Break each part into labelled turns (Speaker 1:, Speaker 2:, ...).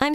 Speaker 1: I'm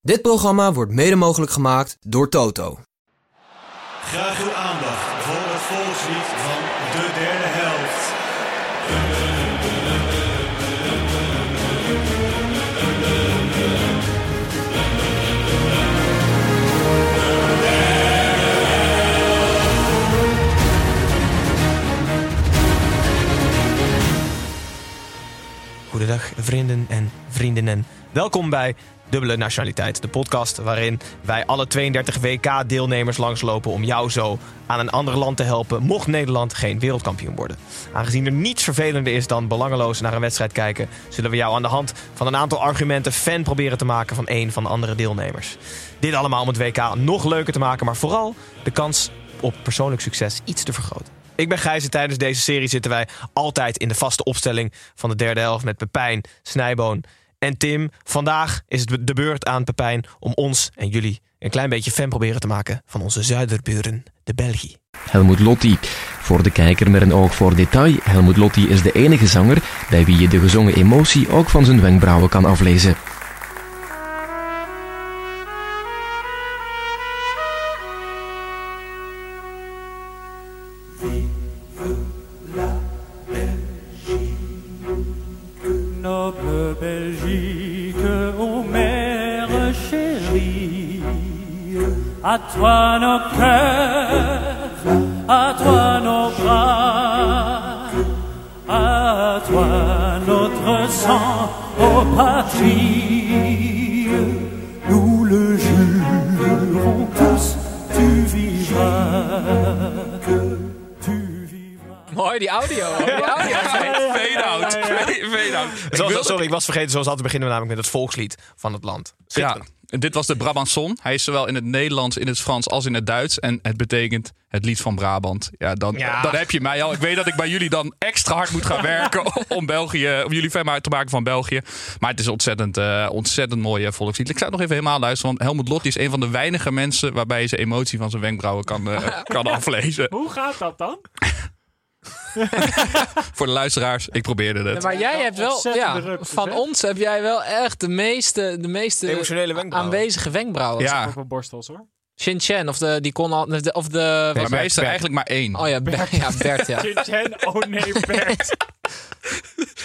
Speaker 2: Dit programma wordt mede mogelijk gemaakt door Toto.
Speaker 3: Graag uw aandacht voor het volkslied van de derde helft.
Speaker 4: Goedendag vrienden en vriendinnen. Welkom bij Dubbele Nationaliteit, de podcast waarin wij alle 32 WK-deelnemers langslopen om jou zo aan een ander land te helpen, mocht Nederland geen wereldkampioen worden. Aangezien er niets vervelender is dan belangeloos naar een wedstrijd kijken, zullen we jou aan de hand van een aantal argumenten fan proberen te maken van een van de andere deelnemers. Dit allemaal om het WK nog leuker te maken, maar vooral de kans op persoonlijk succes iets te vergroten. Ik ben Gijs en tijdens deze serie zitten wij altijd in de vaste opstelling van de derde helft met Pepijn, Snijboon en Tim. Vandaag is het de beurt aan Pepijn om ons en jullie een klein beetje fan proberen te maken van onze zuiderburen, de België.
Speaker 5: Helmoet Lotti. Voor de kijker met een oog voor detail, Helmoet Lotti is de enige zanger bij wie je de gezongen emotie ook van zijn wenkbrauwen kan aflezen.
Speaker 6: Noble Belgique, ô mère chérie, à toi nos cœurs, à toi nos bras, à toi notre sang, ô patrie, nous le jurons tous, tu vivras, tu vivras.
Speaker 7: Mooi, die audio. Die audio. Fade out. Fade out. Ik
Speaker 4: Zoals-
Speaker 7: wilde-
Speaker 4: sorry, ik was vergeten zoals altijd beginnen we namelijk met het volkslied van het land.
Speaker 7: Ja, dit was de Brabantson. Hij is zowel in het Nederlands, in het Frans als in het Duits. En het betekent het lied van Brabant. Ja, dan,
Speaker 4: Ja.
Speaker 7: dan heb je mij al. Ik weet dat ik bij jullie dan extra hard moet gaan werken om, België, om jullie fan te maken van België. Maar het is ontzettend, eh, ontzettend mooi eh, volkslied. Ik zou het nog even helemaal luisteren, want Helmut Lotti is een van de weinige mensen waarbij je zijn emotie van zijn wenkbrauwen kan, eh, kan aflezen.
Speaker 8: Hoe gaat dat dan?
Speaker 7: Voor de luisteraars, ik probeerde het.
Speaker 8: Ja, maar
Speaker 7: Ja, jij...
Speaker 8: jij wel hebt wel, ontzettende
Speaker 7: ja,
Speaker 8: rupsjes,
Speaker 7: van
Speaker 8: hè?
Speaker 7: ons-
Speaker 8: Ook
Speaker 7: ons heb jij wel echt de meeste, de meeste
Speaker 4: Emotionele wenkbrauwen.
Speaker 7: aanwezige wenkbrauwen. Ja,
Speaker 8: wel borstels hoor.
Speaker 7: Shin Chen of de, die kon al, of de...
Speaker 4: wat-
Speaker 7: mij is er eigenlijk maar één.
Speaker 9: Oh ja, Bert. Ja, Bert, ja.
Speaker 8: Chin Chen, oh nee Bert.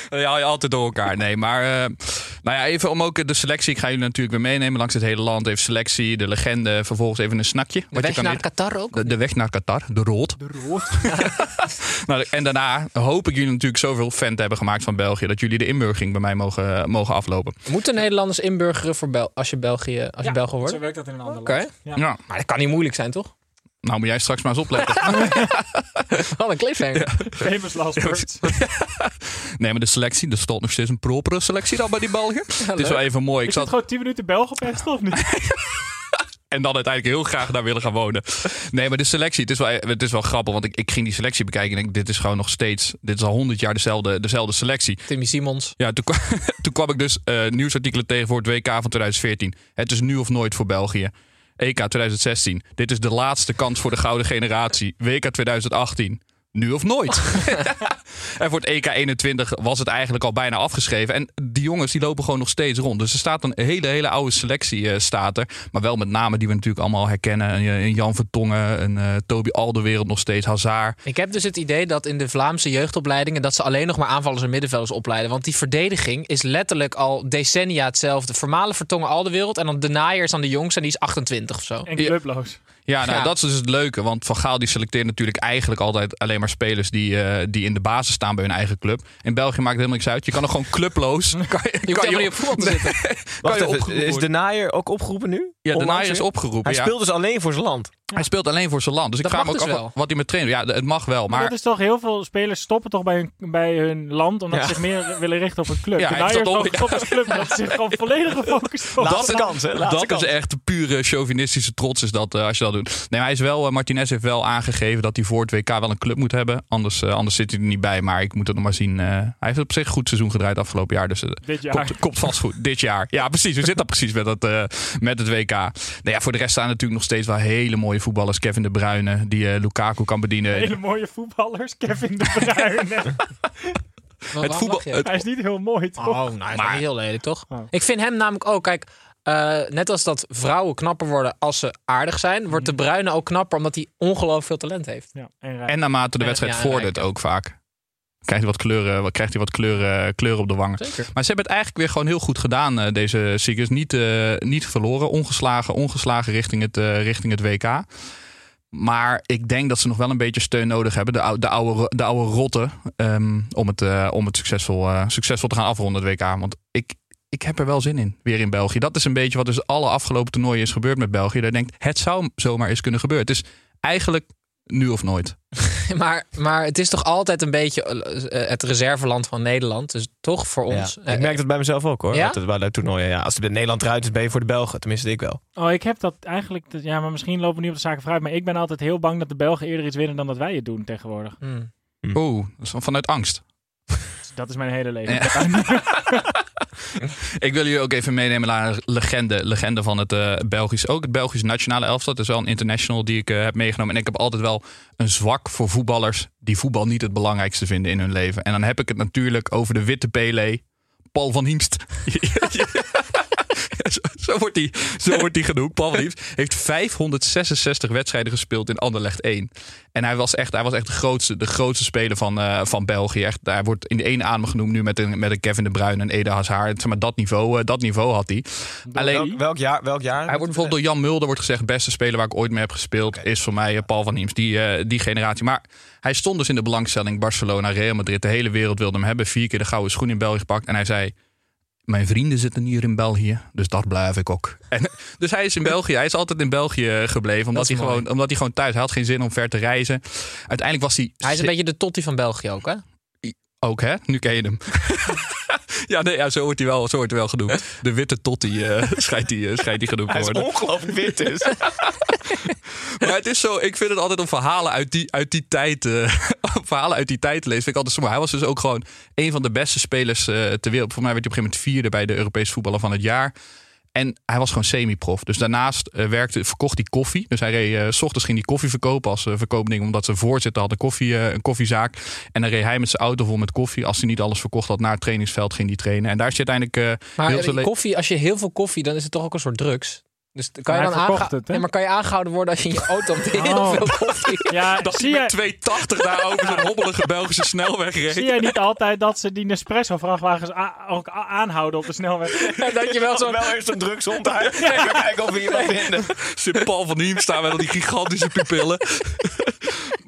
Speaker 7: Ja, haal je altijd door elkaar. Nee, maar eh, nou ja, even om ook de selectie. Ik ga jullie natuurlijk weer meenemen langs het hele land. Even selectie, de legende, vervolgens even een snakje.
Speaker 9: De
Speaker 7: wat je
Speaker 9: weg
Speaker 7: kan
Speaker 9: naar
Speaker 7: eten.
Speaker 9: Qatar ook.
Speaker 7: De, de weg naar Qatar, de rood. De rood. en daarna hoop ik jullie natuurlijk zoveel fan te hebben gemaakt van België... dat jullie de inburgering bij mij mogen, eh, mogen aflopen.
Speaker 9: Moeten Nederlanders inburgeren voor Bel als je, België, als je
Speaker 7: ben
Speaker 9: Belgen wordt?
Speaker 8: Zo
Speaker 9: Oké.
Speaker 8: werkt dat in een ander land.
Speaker 7: Ja.
Speaker 9: Maar dat kan niet moeilijk zijn, toch?
Speaker 7: nou moet jij straks maar eens opletten.
Speaker 9: Wat een cliffhanger.
Speaker 8: Famous last words.
Speaker 7: nee, maar de selectie, er stond nog steeds een propere selectie dan bij die Belgen. het is wel even mooi. Ik
Speaker 8: Ik
Speaker 7: zat
Speaker 8: zat gewoon 10 minuten Belgen pesten of niet?
Speaker 7: En dan uiteindelijk heel graag daar willen gaan wonen. Nee, maar de selectie, het is wel, het is wel grappig. Want ik, ik ging die selectie bekijken en ik, dit is gewoon nog steeds... Dit is al honderd jaar dezelfde, dezelfde selectie.
Speaker 9: Timmy Simons.
Speaker 7: Ja, toen, kwa- toen kwam ik dus eh, nieuwsartikelen tegen voor het WK van 2014. Het is nu of nooit voor België. E EK 2016. Dit is de laatste kans voor de gouden generatie. WK 2018. Nu of nooit. en voor het EK 21 was het eigenlijk al bijna afgeschreven. En die jongens die lopen gewoon nog steeds rond. Dus er staat een hele, hele oude selectie eh, staat er. Maar wel met namen die we natuurlijk allemaal herkennen. Een, een Jan Vertongen, een eh Toby Alderwereld nog steeds, Hazard.
Speaker 9: Ik heb dus het idee dat in de Vlaamse jeugdopleidingen... dat ze alleen nog maar aanvallers en middenvelders opleiden. Want die verdediging is letterlijk al decennia hetzelfde. Vermalen vertongen al de wereld. En dan de naaier is dan de jongste en die is 28 of zo.
Speaker 8: En clubloos.
Speaker 7: Ja, nou,
Speaker 9: Ja.
Speaker 7: dat is dus het leuke. Want Van Gaal die selecteert natuurlijk eigenlijk altijd alleen maar spelers die, eh, die in de basis staan bij hun eigen club. In België maakt het helemaal niks uit. Je kan er gewoon clubloos. Kan je,
Speaker 9: Je hoeft
Speaker 7: kan
Speaker 9: helemaal niet op voetbal te zitten.
Speaker 7: kan je
Speaker 4: Wacht even,
Speaker 7: opgeroepen
Speaker 4: is de
Speaker 7: worden.
Speaker 4: naaier ook opgeroepen nu?
Speaker 7: Ja, de
Speaker 4: Onlangs
Speaker 7: naaier is
Speaker 4: weer?
Speaker 7: opgeroepen.
Speaker 4: Hij
Speaker 7: ja.
Speaker 4: speelt dus alleen voor zijn land.
Speaker 7: Hij speelt alleen voor zijn land. Dus
Speaker 9: Dat
Speaker 7: ik vraag me
Speaker 9: mag
Speaker 7: ook
Speaker 9: dus
Speaker 7: af
Speaker 9: wel.
Speaker 7: wat- wat hij met trainen. Ja, d- het mag wel.
Speaker 8: Maar
Speaker 7: Maar
Speaker 8: dat is toch heel veel spelers stoppen toch bij hun, bij hun land omdat
Speaker 7: Ja.
Speaker 8: ze zich meer willen richten op een club.
Speaker 7: Ja,
Speaker 8: Ja, de
Speaker 7: hij heeft
Speaker 8: Niners
Speaker 7: dat
Speaker 8: ook
Speaker 7: ook-
Speaker 8: op een club dat ze zich gewoon volledig gefocust op
Speaker 4: Laatste kans, hè? Laatste
Speaker 7: dat
Speaker 4: kans.
Speaker 7: is echt pure chauvinistische trots is dat, eh, als je dat doet. Nee, maar hij is wel, eh, Martinez heeft wel aangegeven dat hij voor het WK wel een club moet hebben. Anders, eh, anders zit hij er niet bij. Maar ik moet het nog maar zien. eh, hij heeft op zich een goed seizoen gedraaid afgelopen jaar. Dus eh,
Speaker 8: Dit jaar.
Speaker 7: Komt, komt vast goed. Dit jaar. Ja, precies. Hoe zit dat precies met, dat, eh, met het WK? Nou ja, voor de rest staan natuurlijk nog steeds wel hele mooie voetballers. Kevin De Bruyne, die eh, Lukaku kan bedienen.
Speaker 8: Hele mooie voetballers. Kevin de Bruyne.
Speaker 9: waarom
Speaker 7: voetbal-
Speaker 9: lach je?
Speaker 7: het-
Speaker 8: hij is niet heel mooi, toch?
Speaker 9: Oh, nou, is maar... heel lelijk, toch? Ik vind hem namelijk ook, kijk, eh, net als dat vrouwen knapper worden als ze aardig zijn, wordt de bruine ook knapper omdat hij ongelooflijk veel talent heeft.
Speaker 8: Ja, en Rijn.
Speaker 7: En naarmate de
Speaker 9: Ja,
Speaker 7: wedstrijd
Speaker 9: ja,
Speaker 7: vordert
Speaker 9: ja.
Speaker 7: ook vaak. Krijgt hij wat kleuren, wat- krijgt hij wat kleuren, kleuren op de wangen.
Speaker 9: Zeker.
Speaker 7: Maar ze hebben het eigenlijk weer gewoon heel goed gedaan, eh, deze Seekers. Niet, eh, niet verloren, ongeslagen, ongeslagen richting het, eh, richting het WK. Maar ik denk dat ze nog wel een beetje steun nodig hebben. De, ou- de, oude, ro- de oude rotten. ehm, om het, eh, om het succesvol, eh, succesvol te gaan afronden, het WK. Want ik, ik heb er wel zin in, weer in België. Dat is een beetje wat dus alle afgelopen toernooien is gebeurd met België. Daar denkt, het zou zomaar eens kunnen gebeuren. Het is eigenlijk nu of nooit.
Speaker 9: Maar, maar het is toch altijd een beetje eh, eh, het reserveland van Nederland. Dus toch voor ons.
Speaker 4: Ja. Ik merk dat bij mezelf ook hoor.
Speaker 9: Ja?
Speaker 4: Dat het bij de toernooien. Ja, als het bij Nederland eruit is, ben je voor de Belgen. Tenminste, ik wel.
Speaker 8: Oh, ik heb dat eigenlijk... dat- Ja, maar misschien lopen we nu op de zaken vooruit. Maar ik ben altijd heel bang dat de Belgen eerder iets winnen dan dat wij het doen tegenwoordig.
Speaker 9: Hmm.
Speaker 7: Oeh, dat is vanuit angst.
Speaker 8: Dus dat is mijn hele leven.
Speaker 7: Ik wil jullie ook even meenemen naar een legende, legende van het eh Belgisch. Ook het Belgische nationale elftal. Dat is wel een international die ik eh, heb meegenomen. En ik heb altijd wel een zwak voor voetballers die voetbal niet het belangrijkste vinden in hun leven. En dan heb ik het natuurlijk over de witte Pele, Paul van Hiemst. Zo- Zo wordt hij zo wordt hij genoemd. Paul van Hiemst heeft 566 wedstrijden gespeeld in Anderlecht 1. En hij was echt, hij was echt de, grootste, de grootste speler van, eh, van België. Echt, hij wordt in één adem genoemd nu met een, met een Kevin de Bruyne en Ede Hazard. Zeg maar, dat, niveau, eh, dat niveau had hij. Alleen,
Speaker 4: Welk, welk jaar? Welk jaar
Speaker 7: hij wordt bijvoorbeeld door Jan Mulder wordt gezegd: beste speler waar ik ooit mee heb gespeeld is voor mij eh, Paul van Hiems, die, eh, die generatie. Maar hij stond dus in de belangstelling Barcelona, Real Madrid. De hele wereld wilde hem hebben. Vier keer de gouden schoen in België gepakt. En hij zei: Mijn vrienden zitten hier in België, dus dat blijf ik ook. En, dus hij is in België, hij is altijd in België eh, gebleven, omdat,
Speaker 9: is
Speaker 7: hij
Speaker 9: mooi.
Speaker 7: gewoon, omdat hij gewoon thuis hij had geen zin om ver te reizen. Uiteindelijk was hij.
Speaker 9: Hij is een
Speaker 7: zi-
Speaker 9: beetje de Totti van België ook, hè?
Speaker 7: ook, hè? Nu ken je hem. ja, nee, ja, zo wordt hij wel, zo wordt hij wel genoemd. De witte Totti eh schijnt hij eh, schijnt hij genoemd te
Speaker 4: Hij is
Speaker 7: worden.
Speaker 4: ongelooflijk wit dus. is.
Speaker 7: Maar het is zo, ik vind het altijd om verhalen uit die, uit die tijd. eh, om verhalen uit die tijd te lezen. Vind ik altijd zo mooi. Hij was dus ook gewoon een van de beste spelers eh, ter wereld. Voor mij werd hij op een gegeven moment vierde bij de Europese voetballer van het jaar. En hij was gewoon semi-prof. Dus daarnaast eh, werkte, verkocht hij koffie. Dus hij reed, eh, s ochtends ging hij koffie verkopen als eh, verkoopding. Omdat ze voorzitter had een, koffie, eh, een koffiezaak. En dan reed hij met zijn auto vol met koffie. Als hij niet alles verkocht had naar het trainingsveld, ging hij trainen. En daar is hij uiteindelijk eh
Speaker 9: Maar
Speaker 7: heel zijn le-
Speaker 9: koffie, als je heel veel koffie, dan is het toch ook een soort drugs. Dus kan
Speaker 8: Maar
Speaker 9: je
Speaker 8: hij
Speaker 9: dan
Speaker 8: verkocht
Speaker 9: aangeho-
Speaker 8: het, hè?
Speaker 9: Nee, maar kan je aangehouden worden als je in je auto met heel
Speaker 8: Oh.
Speaker 9: veel koffie...
Speaker 8: ja,
Speaker 7: Dat
Speaker 8: zie
Speaker 7: hij met
Speaker 8: jij,
Speaker 7: 280 daar over zo'n hobbelige Belgische snelweg reed.
Speaker 8: zie jij niet altijd dat ze die Nespresso-vrachtwagens a- ook a- aanhouden op de snelweg?
Speaker 9: En dat je wel zo'n...
Speaker 4: wel eerst een drugshond uit. Even kijken of we hier wat vinden.
Speaker 7: Zit Paul van Hiem staan met al die gigantische pupillen.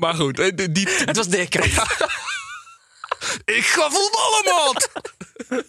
Speaker 7: maar goed, eh, die, die-
Speaker 9: Het was dikker.
Speaker 7: ik ga voetballen, man!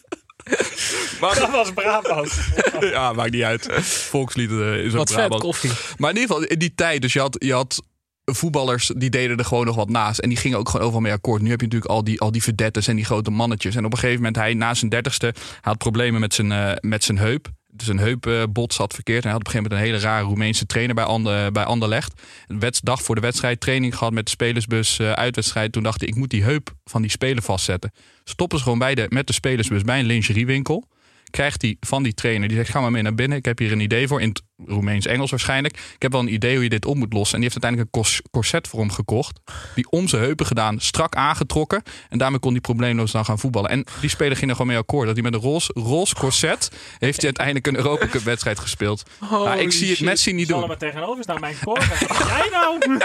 Speaker 8: Dat
Speaker 7: maar,
Speaker 8: was Brabant.
Speaker 7: ja, maakt niet uit. Volkslied eh, is ook
Speaker 9: Wat vet,
Speaker 7: Brabant.
Speaker 9: koffie.
Speaker 7: Maar in ieder geval, in die tijd, dus je had, je had voetballers die deden er gewoon nog wat naast. En die gingen ook gewoon overal mee akkoord. Nu heb je natuurlijk al die, al die verdettes en die grote mannetjes. En op een gegeven moment, hij na zijn dertigste, hij had problemen met zijn, eh, met zijn heup. Dus een heupbot zat verkeerd. En hij had op een gegeven moment een hele rare Roemeense trainer bij, Ander, bij Anderlecht. Een wets- dag voor de wedstrijd training gehad met de spelersbus, eh, uitwedstrijd. Toen dacht hij, ik moet die heup van die speler vastzetten. Stoppen ze gewoon bij de, met de
Speaker 6: Dus
Speaker 7: spelersbus bij een lingeriewinkel krijgt hij van die trainer. Die zegt, ga maar mee naar binnen. Ik heb hier een idee voor. In het Roemeens-Engels waarschijnlijk. Ik heb wel een idee hoe je dit op moet lossen. En die heeft uiteindelijk een cors- corset voor hem gekocht. Die om zijn heupen gedaan, strak aangetrokken. En daarmee kon hij probleemloos dan gaan voetballen. En die speler ging er gewoon mee akkoord. Dat hij met een roze, roze corset heeft hij uiteindelijk een Europa Cup wedstrijd gespeeld. Maar ik zie het Messi niet
Speaker 8: Zal
Speaker 7: doen.
Speaker 8: allemaal tegenover staan, mijn koren. Wat jij nou?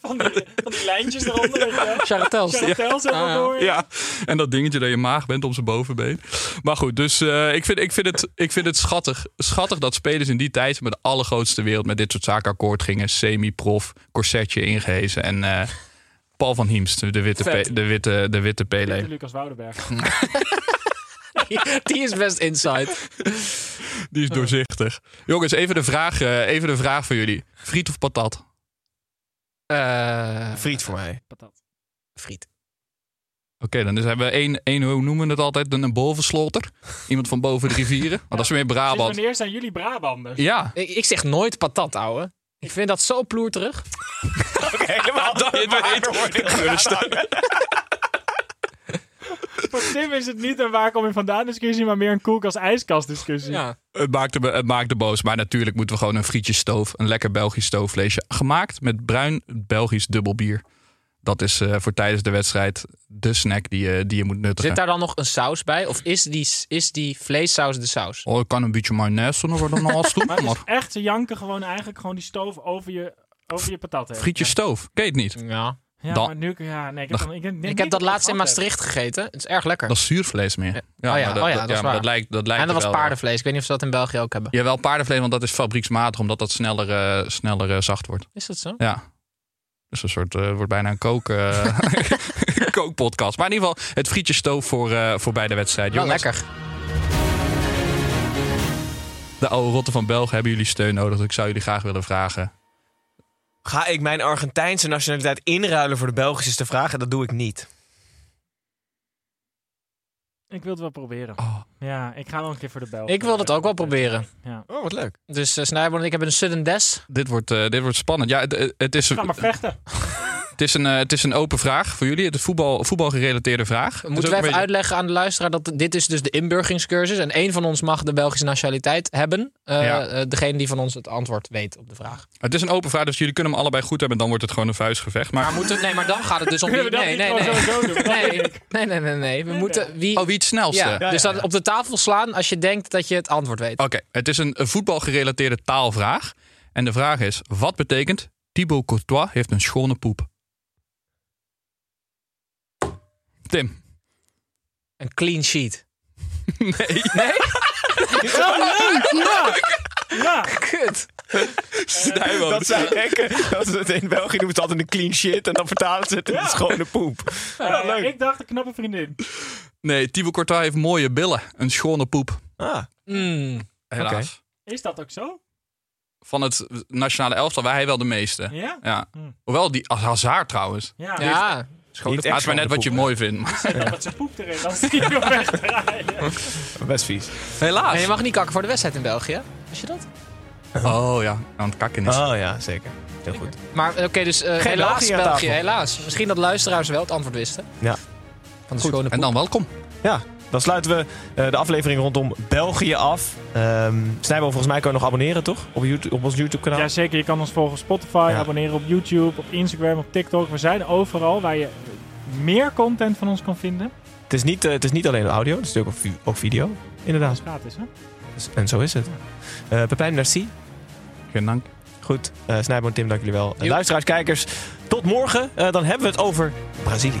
Speaker 8: Van die, van die lijntjes eronder. weet je wel.
Speaker 9: Charretels.
Speaker 8: Charretels
Speaker 9: Ah,
Speaker 8: even
Speaker 9: ja.
Speaker 8: door.
Speaker 7: Ja, en dat dingetje dat je maag bent om zijn bovenbeen. Maar goed, dus eh, ik, vind, ik, vind het, ik vind het schattig. Schattig dat spelers in die tijd met de allergrootste wereld met dit soort zaken akkoord gingen. Semi-prof, corsetje ingehezen en eh, Paul van Hiemst, de witte,
Speaker 9: Vet.
Speaker 7: Pe- de witte, de witte
Speaker 8: Dit is
Speaker 7: Pele.
Speaker 8: Lucas Woudenberg.
Speaker 9: die, die is best inside.
Speaker 7: Die is doorzichtig. Jongens, even de vraag, eh, even de vraag voor jullie. Friet of patat?
Speaker 9: Eh,
Speaker 4: Friet voor mij.
Speaker 6: Patat.
Speaker 9: friet.
Speaker 7: Oké, dan dus hebben we één, één, hoe noemen we het altijd? Een een bovensloter. Iemand van boven de rivieren. Want dat is weer
Speaker 6: Sinds
Speaker 7: Brabant.
Speaker 6: wanneer zijn jullie Brabanders?
Speaker 7: Ja.
Speaker 9: Ik, ik zeg nooit patat, ouwe. Ik vind dat zo ploerterig.
Speaker 4: Helemaal
Speaker 6: Voor Tim is het niet een waar kom je vandaan discussie, maar meer een koelkast-ijskast discussie.
Speaker 9: Ja.
Speaker 7: Het maakte, me- het maakte boos. Maar natuurlijk moeten we gewoon een frietjesstoof. Een lekker Belgisch stoofvleesje. Gemaakt met bruin Belgisch dubbelbier. Dat is eh, voor tijdens de wedstrijd de snack die, je- die je moet nuttigen.
Speaker 9: Zit daar dan nog een saus bij? Of is die, is die vleessaus de saus?
Speaker 7: Oh, ik kan een beetje mayonaise nog worden naast doen.
Speaker 6: Maar het is
Speaker 7: Maar
Speaker 6: echt, ze janken gewoon eigenlijk gewoon die stoof over je, over je patat heen.
Speaker 7: frietjesstoof. Ken je het niet?
Speaker 9: Ja.
Speaker 6: Ja,
Speaker 7: Dan-
Speaker 6: maar nu... Ja, nee, ik heb, dan- ik, denk
Speaker 9: Ik
Speaker 6: niet
Speaker 9: heb dat
Speaker 6: ik
Speaker 9: laatst in
Speaker 6: gehad heb.
Speaker 9: Maastricht gegeten. Het is erg lekker.
Speaker 7: Dat is zuurvlees meer.
Speaker 9: ja,
Speaker 7: maar
Speaker 9: oh ja, dat is
Speaker 7: maar
Speaker 9: waar.
Speaker 7: dat lijkt, dat lijkt
Speaker 9: en dat was
Speaker 7: er wel-
Speaker 9: paardenvlees. Ik weet niet of ze dat in België ook hebben.
Speaker 7: Jawel, paardenvlees, want dat is fabrieksmatig, omdat dat sneller, eh, sneller eh, zacht wordt.
Speaker 9: Is dat zo?
Speaker 7: Ja. Dus een soort, eh, wordt bijna een kook, eh, kookpodcast. Maar in ieder geval, het frietjesstoof voor, eh, voor bij de wedstrijd.
Speaker 9: Wel
Speaker 7: Jongens,
Speaker 9: Nou, lekker.
Speaker 7: de oude rotten van Belgen hebben jullie steun nodig. Dus ik zou jullie graag willen vragen.
Speaker 4: Ga ik mijn Argentijnse nationaliteit inruilen voor de Belgische is de vraag? En dat doe ik niet.
Speaker 6: Ik wil het wel proberen.
Speaker 7: Oh.
Speaker 6: Ja, ik ga wel een keer voor de Belgen.
Speaker 9: Ik wil dat ook wel proberen.
Speaker 6: Ja.
Speaker 4: Oh, wat leuk.
Speaker 9: Dus eh Snijboon en ik hebben een sudden des.
Speaker 7: Dit wordt, eh, dit wordt spannend. Ja, het, het, is,
Speaker 6: Ga maar vechten.
Speaker 7: het, is een, eh, het is een open vraag voor jullie. Het is voetbal, voetbalgerelateerde vraag. Dus ook
Speaker 9: Moeten
Speaker 7: een
Speaker 9: we even
Speaker 7: beetje-
Speaker 9: uitleggen aan de luisteraar dat dit is dus de inburgingscursus. En één van ons mag de Belgische nationaliteit hebben. Eh,
Speaker 7: Ja.
Speaker 9: eh, degene die van ons het antwoord weet op de vraag.
Speaker 7: Het is een open vraag, dus jullie kunnen hem allebei goed hebben. Dan wordt het gewoon een vuistgevecht. Maar
Speaker 9: Maar moeten, nee, maar dan gaat het dus om... Wie,
Speaker 6: Kunnen we dat
Speaker 9: nee,
Speaker 6: niet
Speaker 9: nee, nee.
Speaker 6: gewoon sowieso doen? Dat
Speaker 9: Nee,
Speaker 6: weet ik.
Speaker 9: nee, nee, nee, nee. We moeten... Wie,
Speaker 7: oh, wie het snelste?
Speaker 9: ja, dus dat op de tafel slaan als je denkt dat je het antwoord weet.
Speaker 7: Oké, het is een een voetbalgerelateerde taalvraag. En de vraag is: wat betekent Thibaut Courtois heeft een schone poep? Tim.
Speaker 9: Een clean sheet.
Speaker 7: Nee.
Speaker 6: Ja,
Speaker 9: Kut.
Speaker 7: Snijboon.
Speaker 4: Dat zijn gekken. Dat ze het in België noemen het altijd een clean shit. En dan vertalen ze het in een schone poep.
Speaker 6: eh, ik dacht een knappe vriendin.
Speaker 7: Nee, Thibaut Courtois heeft mooie billen. Een schone poep.
Speaker 4: Ah,
Speaker 9: Mm.
Speaker 7: Helaas.
Speaker 6: Is dat ook zo?
Speaker 7: Van het nationale elftal waar hij wel de meeste.
Speaker 6: Ja?
Speaker 7: Ja.
Speaker 6: Hm.
Speaker 7: Hoewel die als Hazard trouwens.
Speaker 6: Ja.
Speaker 9: Ja,
Speaker 4: schone
Speaker 7: Niet echt, maar net wat je mooi vindt.
Speaker 6: Zet dan wat ze poep erin, dan zie je hem wegdraaien.
Speaker 4: Best vies.
Speaker 9: en
Speaker 7: Helaas.
Speaker 9: je mag niet kakken voor de wedstrijd in België. Wist je dat?
Speaker 7: Oh ja, aan het kakken is.
Speaker 4: Oh ja, zeker. Heel goed.
Speaker 9: Maar oké, dus eh,
Speaker 4: Geen
Speaker 9: helaas
Speaker 4: België aan
Speaker 9: België,
Speaker 4: tafel.
Speaker 9: helaas. Misschien dat luisteraars wel het antwoord wisten.
Speaker 4: Ja.
Speaker 9: Van de schone
Speaker 7: En
Speaker 9: poep.
Speaker 7: dan welkom.
Speaker 4: Ja, dan sluiten we eh, de aflevering rondom België af. Ehm Snijboom, volgens mij kan je nog abonneren, toch? Op, YouTube, op ons YouTube-kanaal.
Speaker 6: Jazeker, je kan ons volgen op Spotify,
Speaker 4: Ja.
Speaker 6: abonneren op YouTube, op Instagram, op TikTok. We zijn overal waar je meer content van ons kan vinden.
Speaker 4: Het, is niet, eh, het is niet alleen audio, het is natuurlijk ook, vi- ook video.
Speaker 6: Dat
Speaker 4: Inderdaad.
Speaker 6: is gratis, hè?
Speaker 4: Dus- En zo is het. Eh Pepijn, merci.
Speaker 7: Geen dank.
Speaker 4: Goed. Eh Snijboom, Tim, dank jullie wel. Eh,
Speaker 9: Jo.
Speaker 4: luisteraars, kijkers, tot morgen. Eh, dan hebben we het over Brazilië.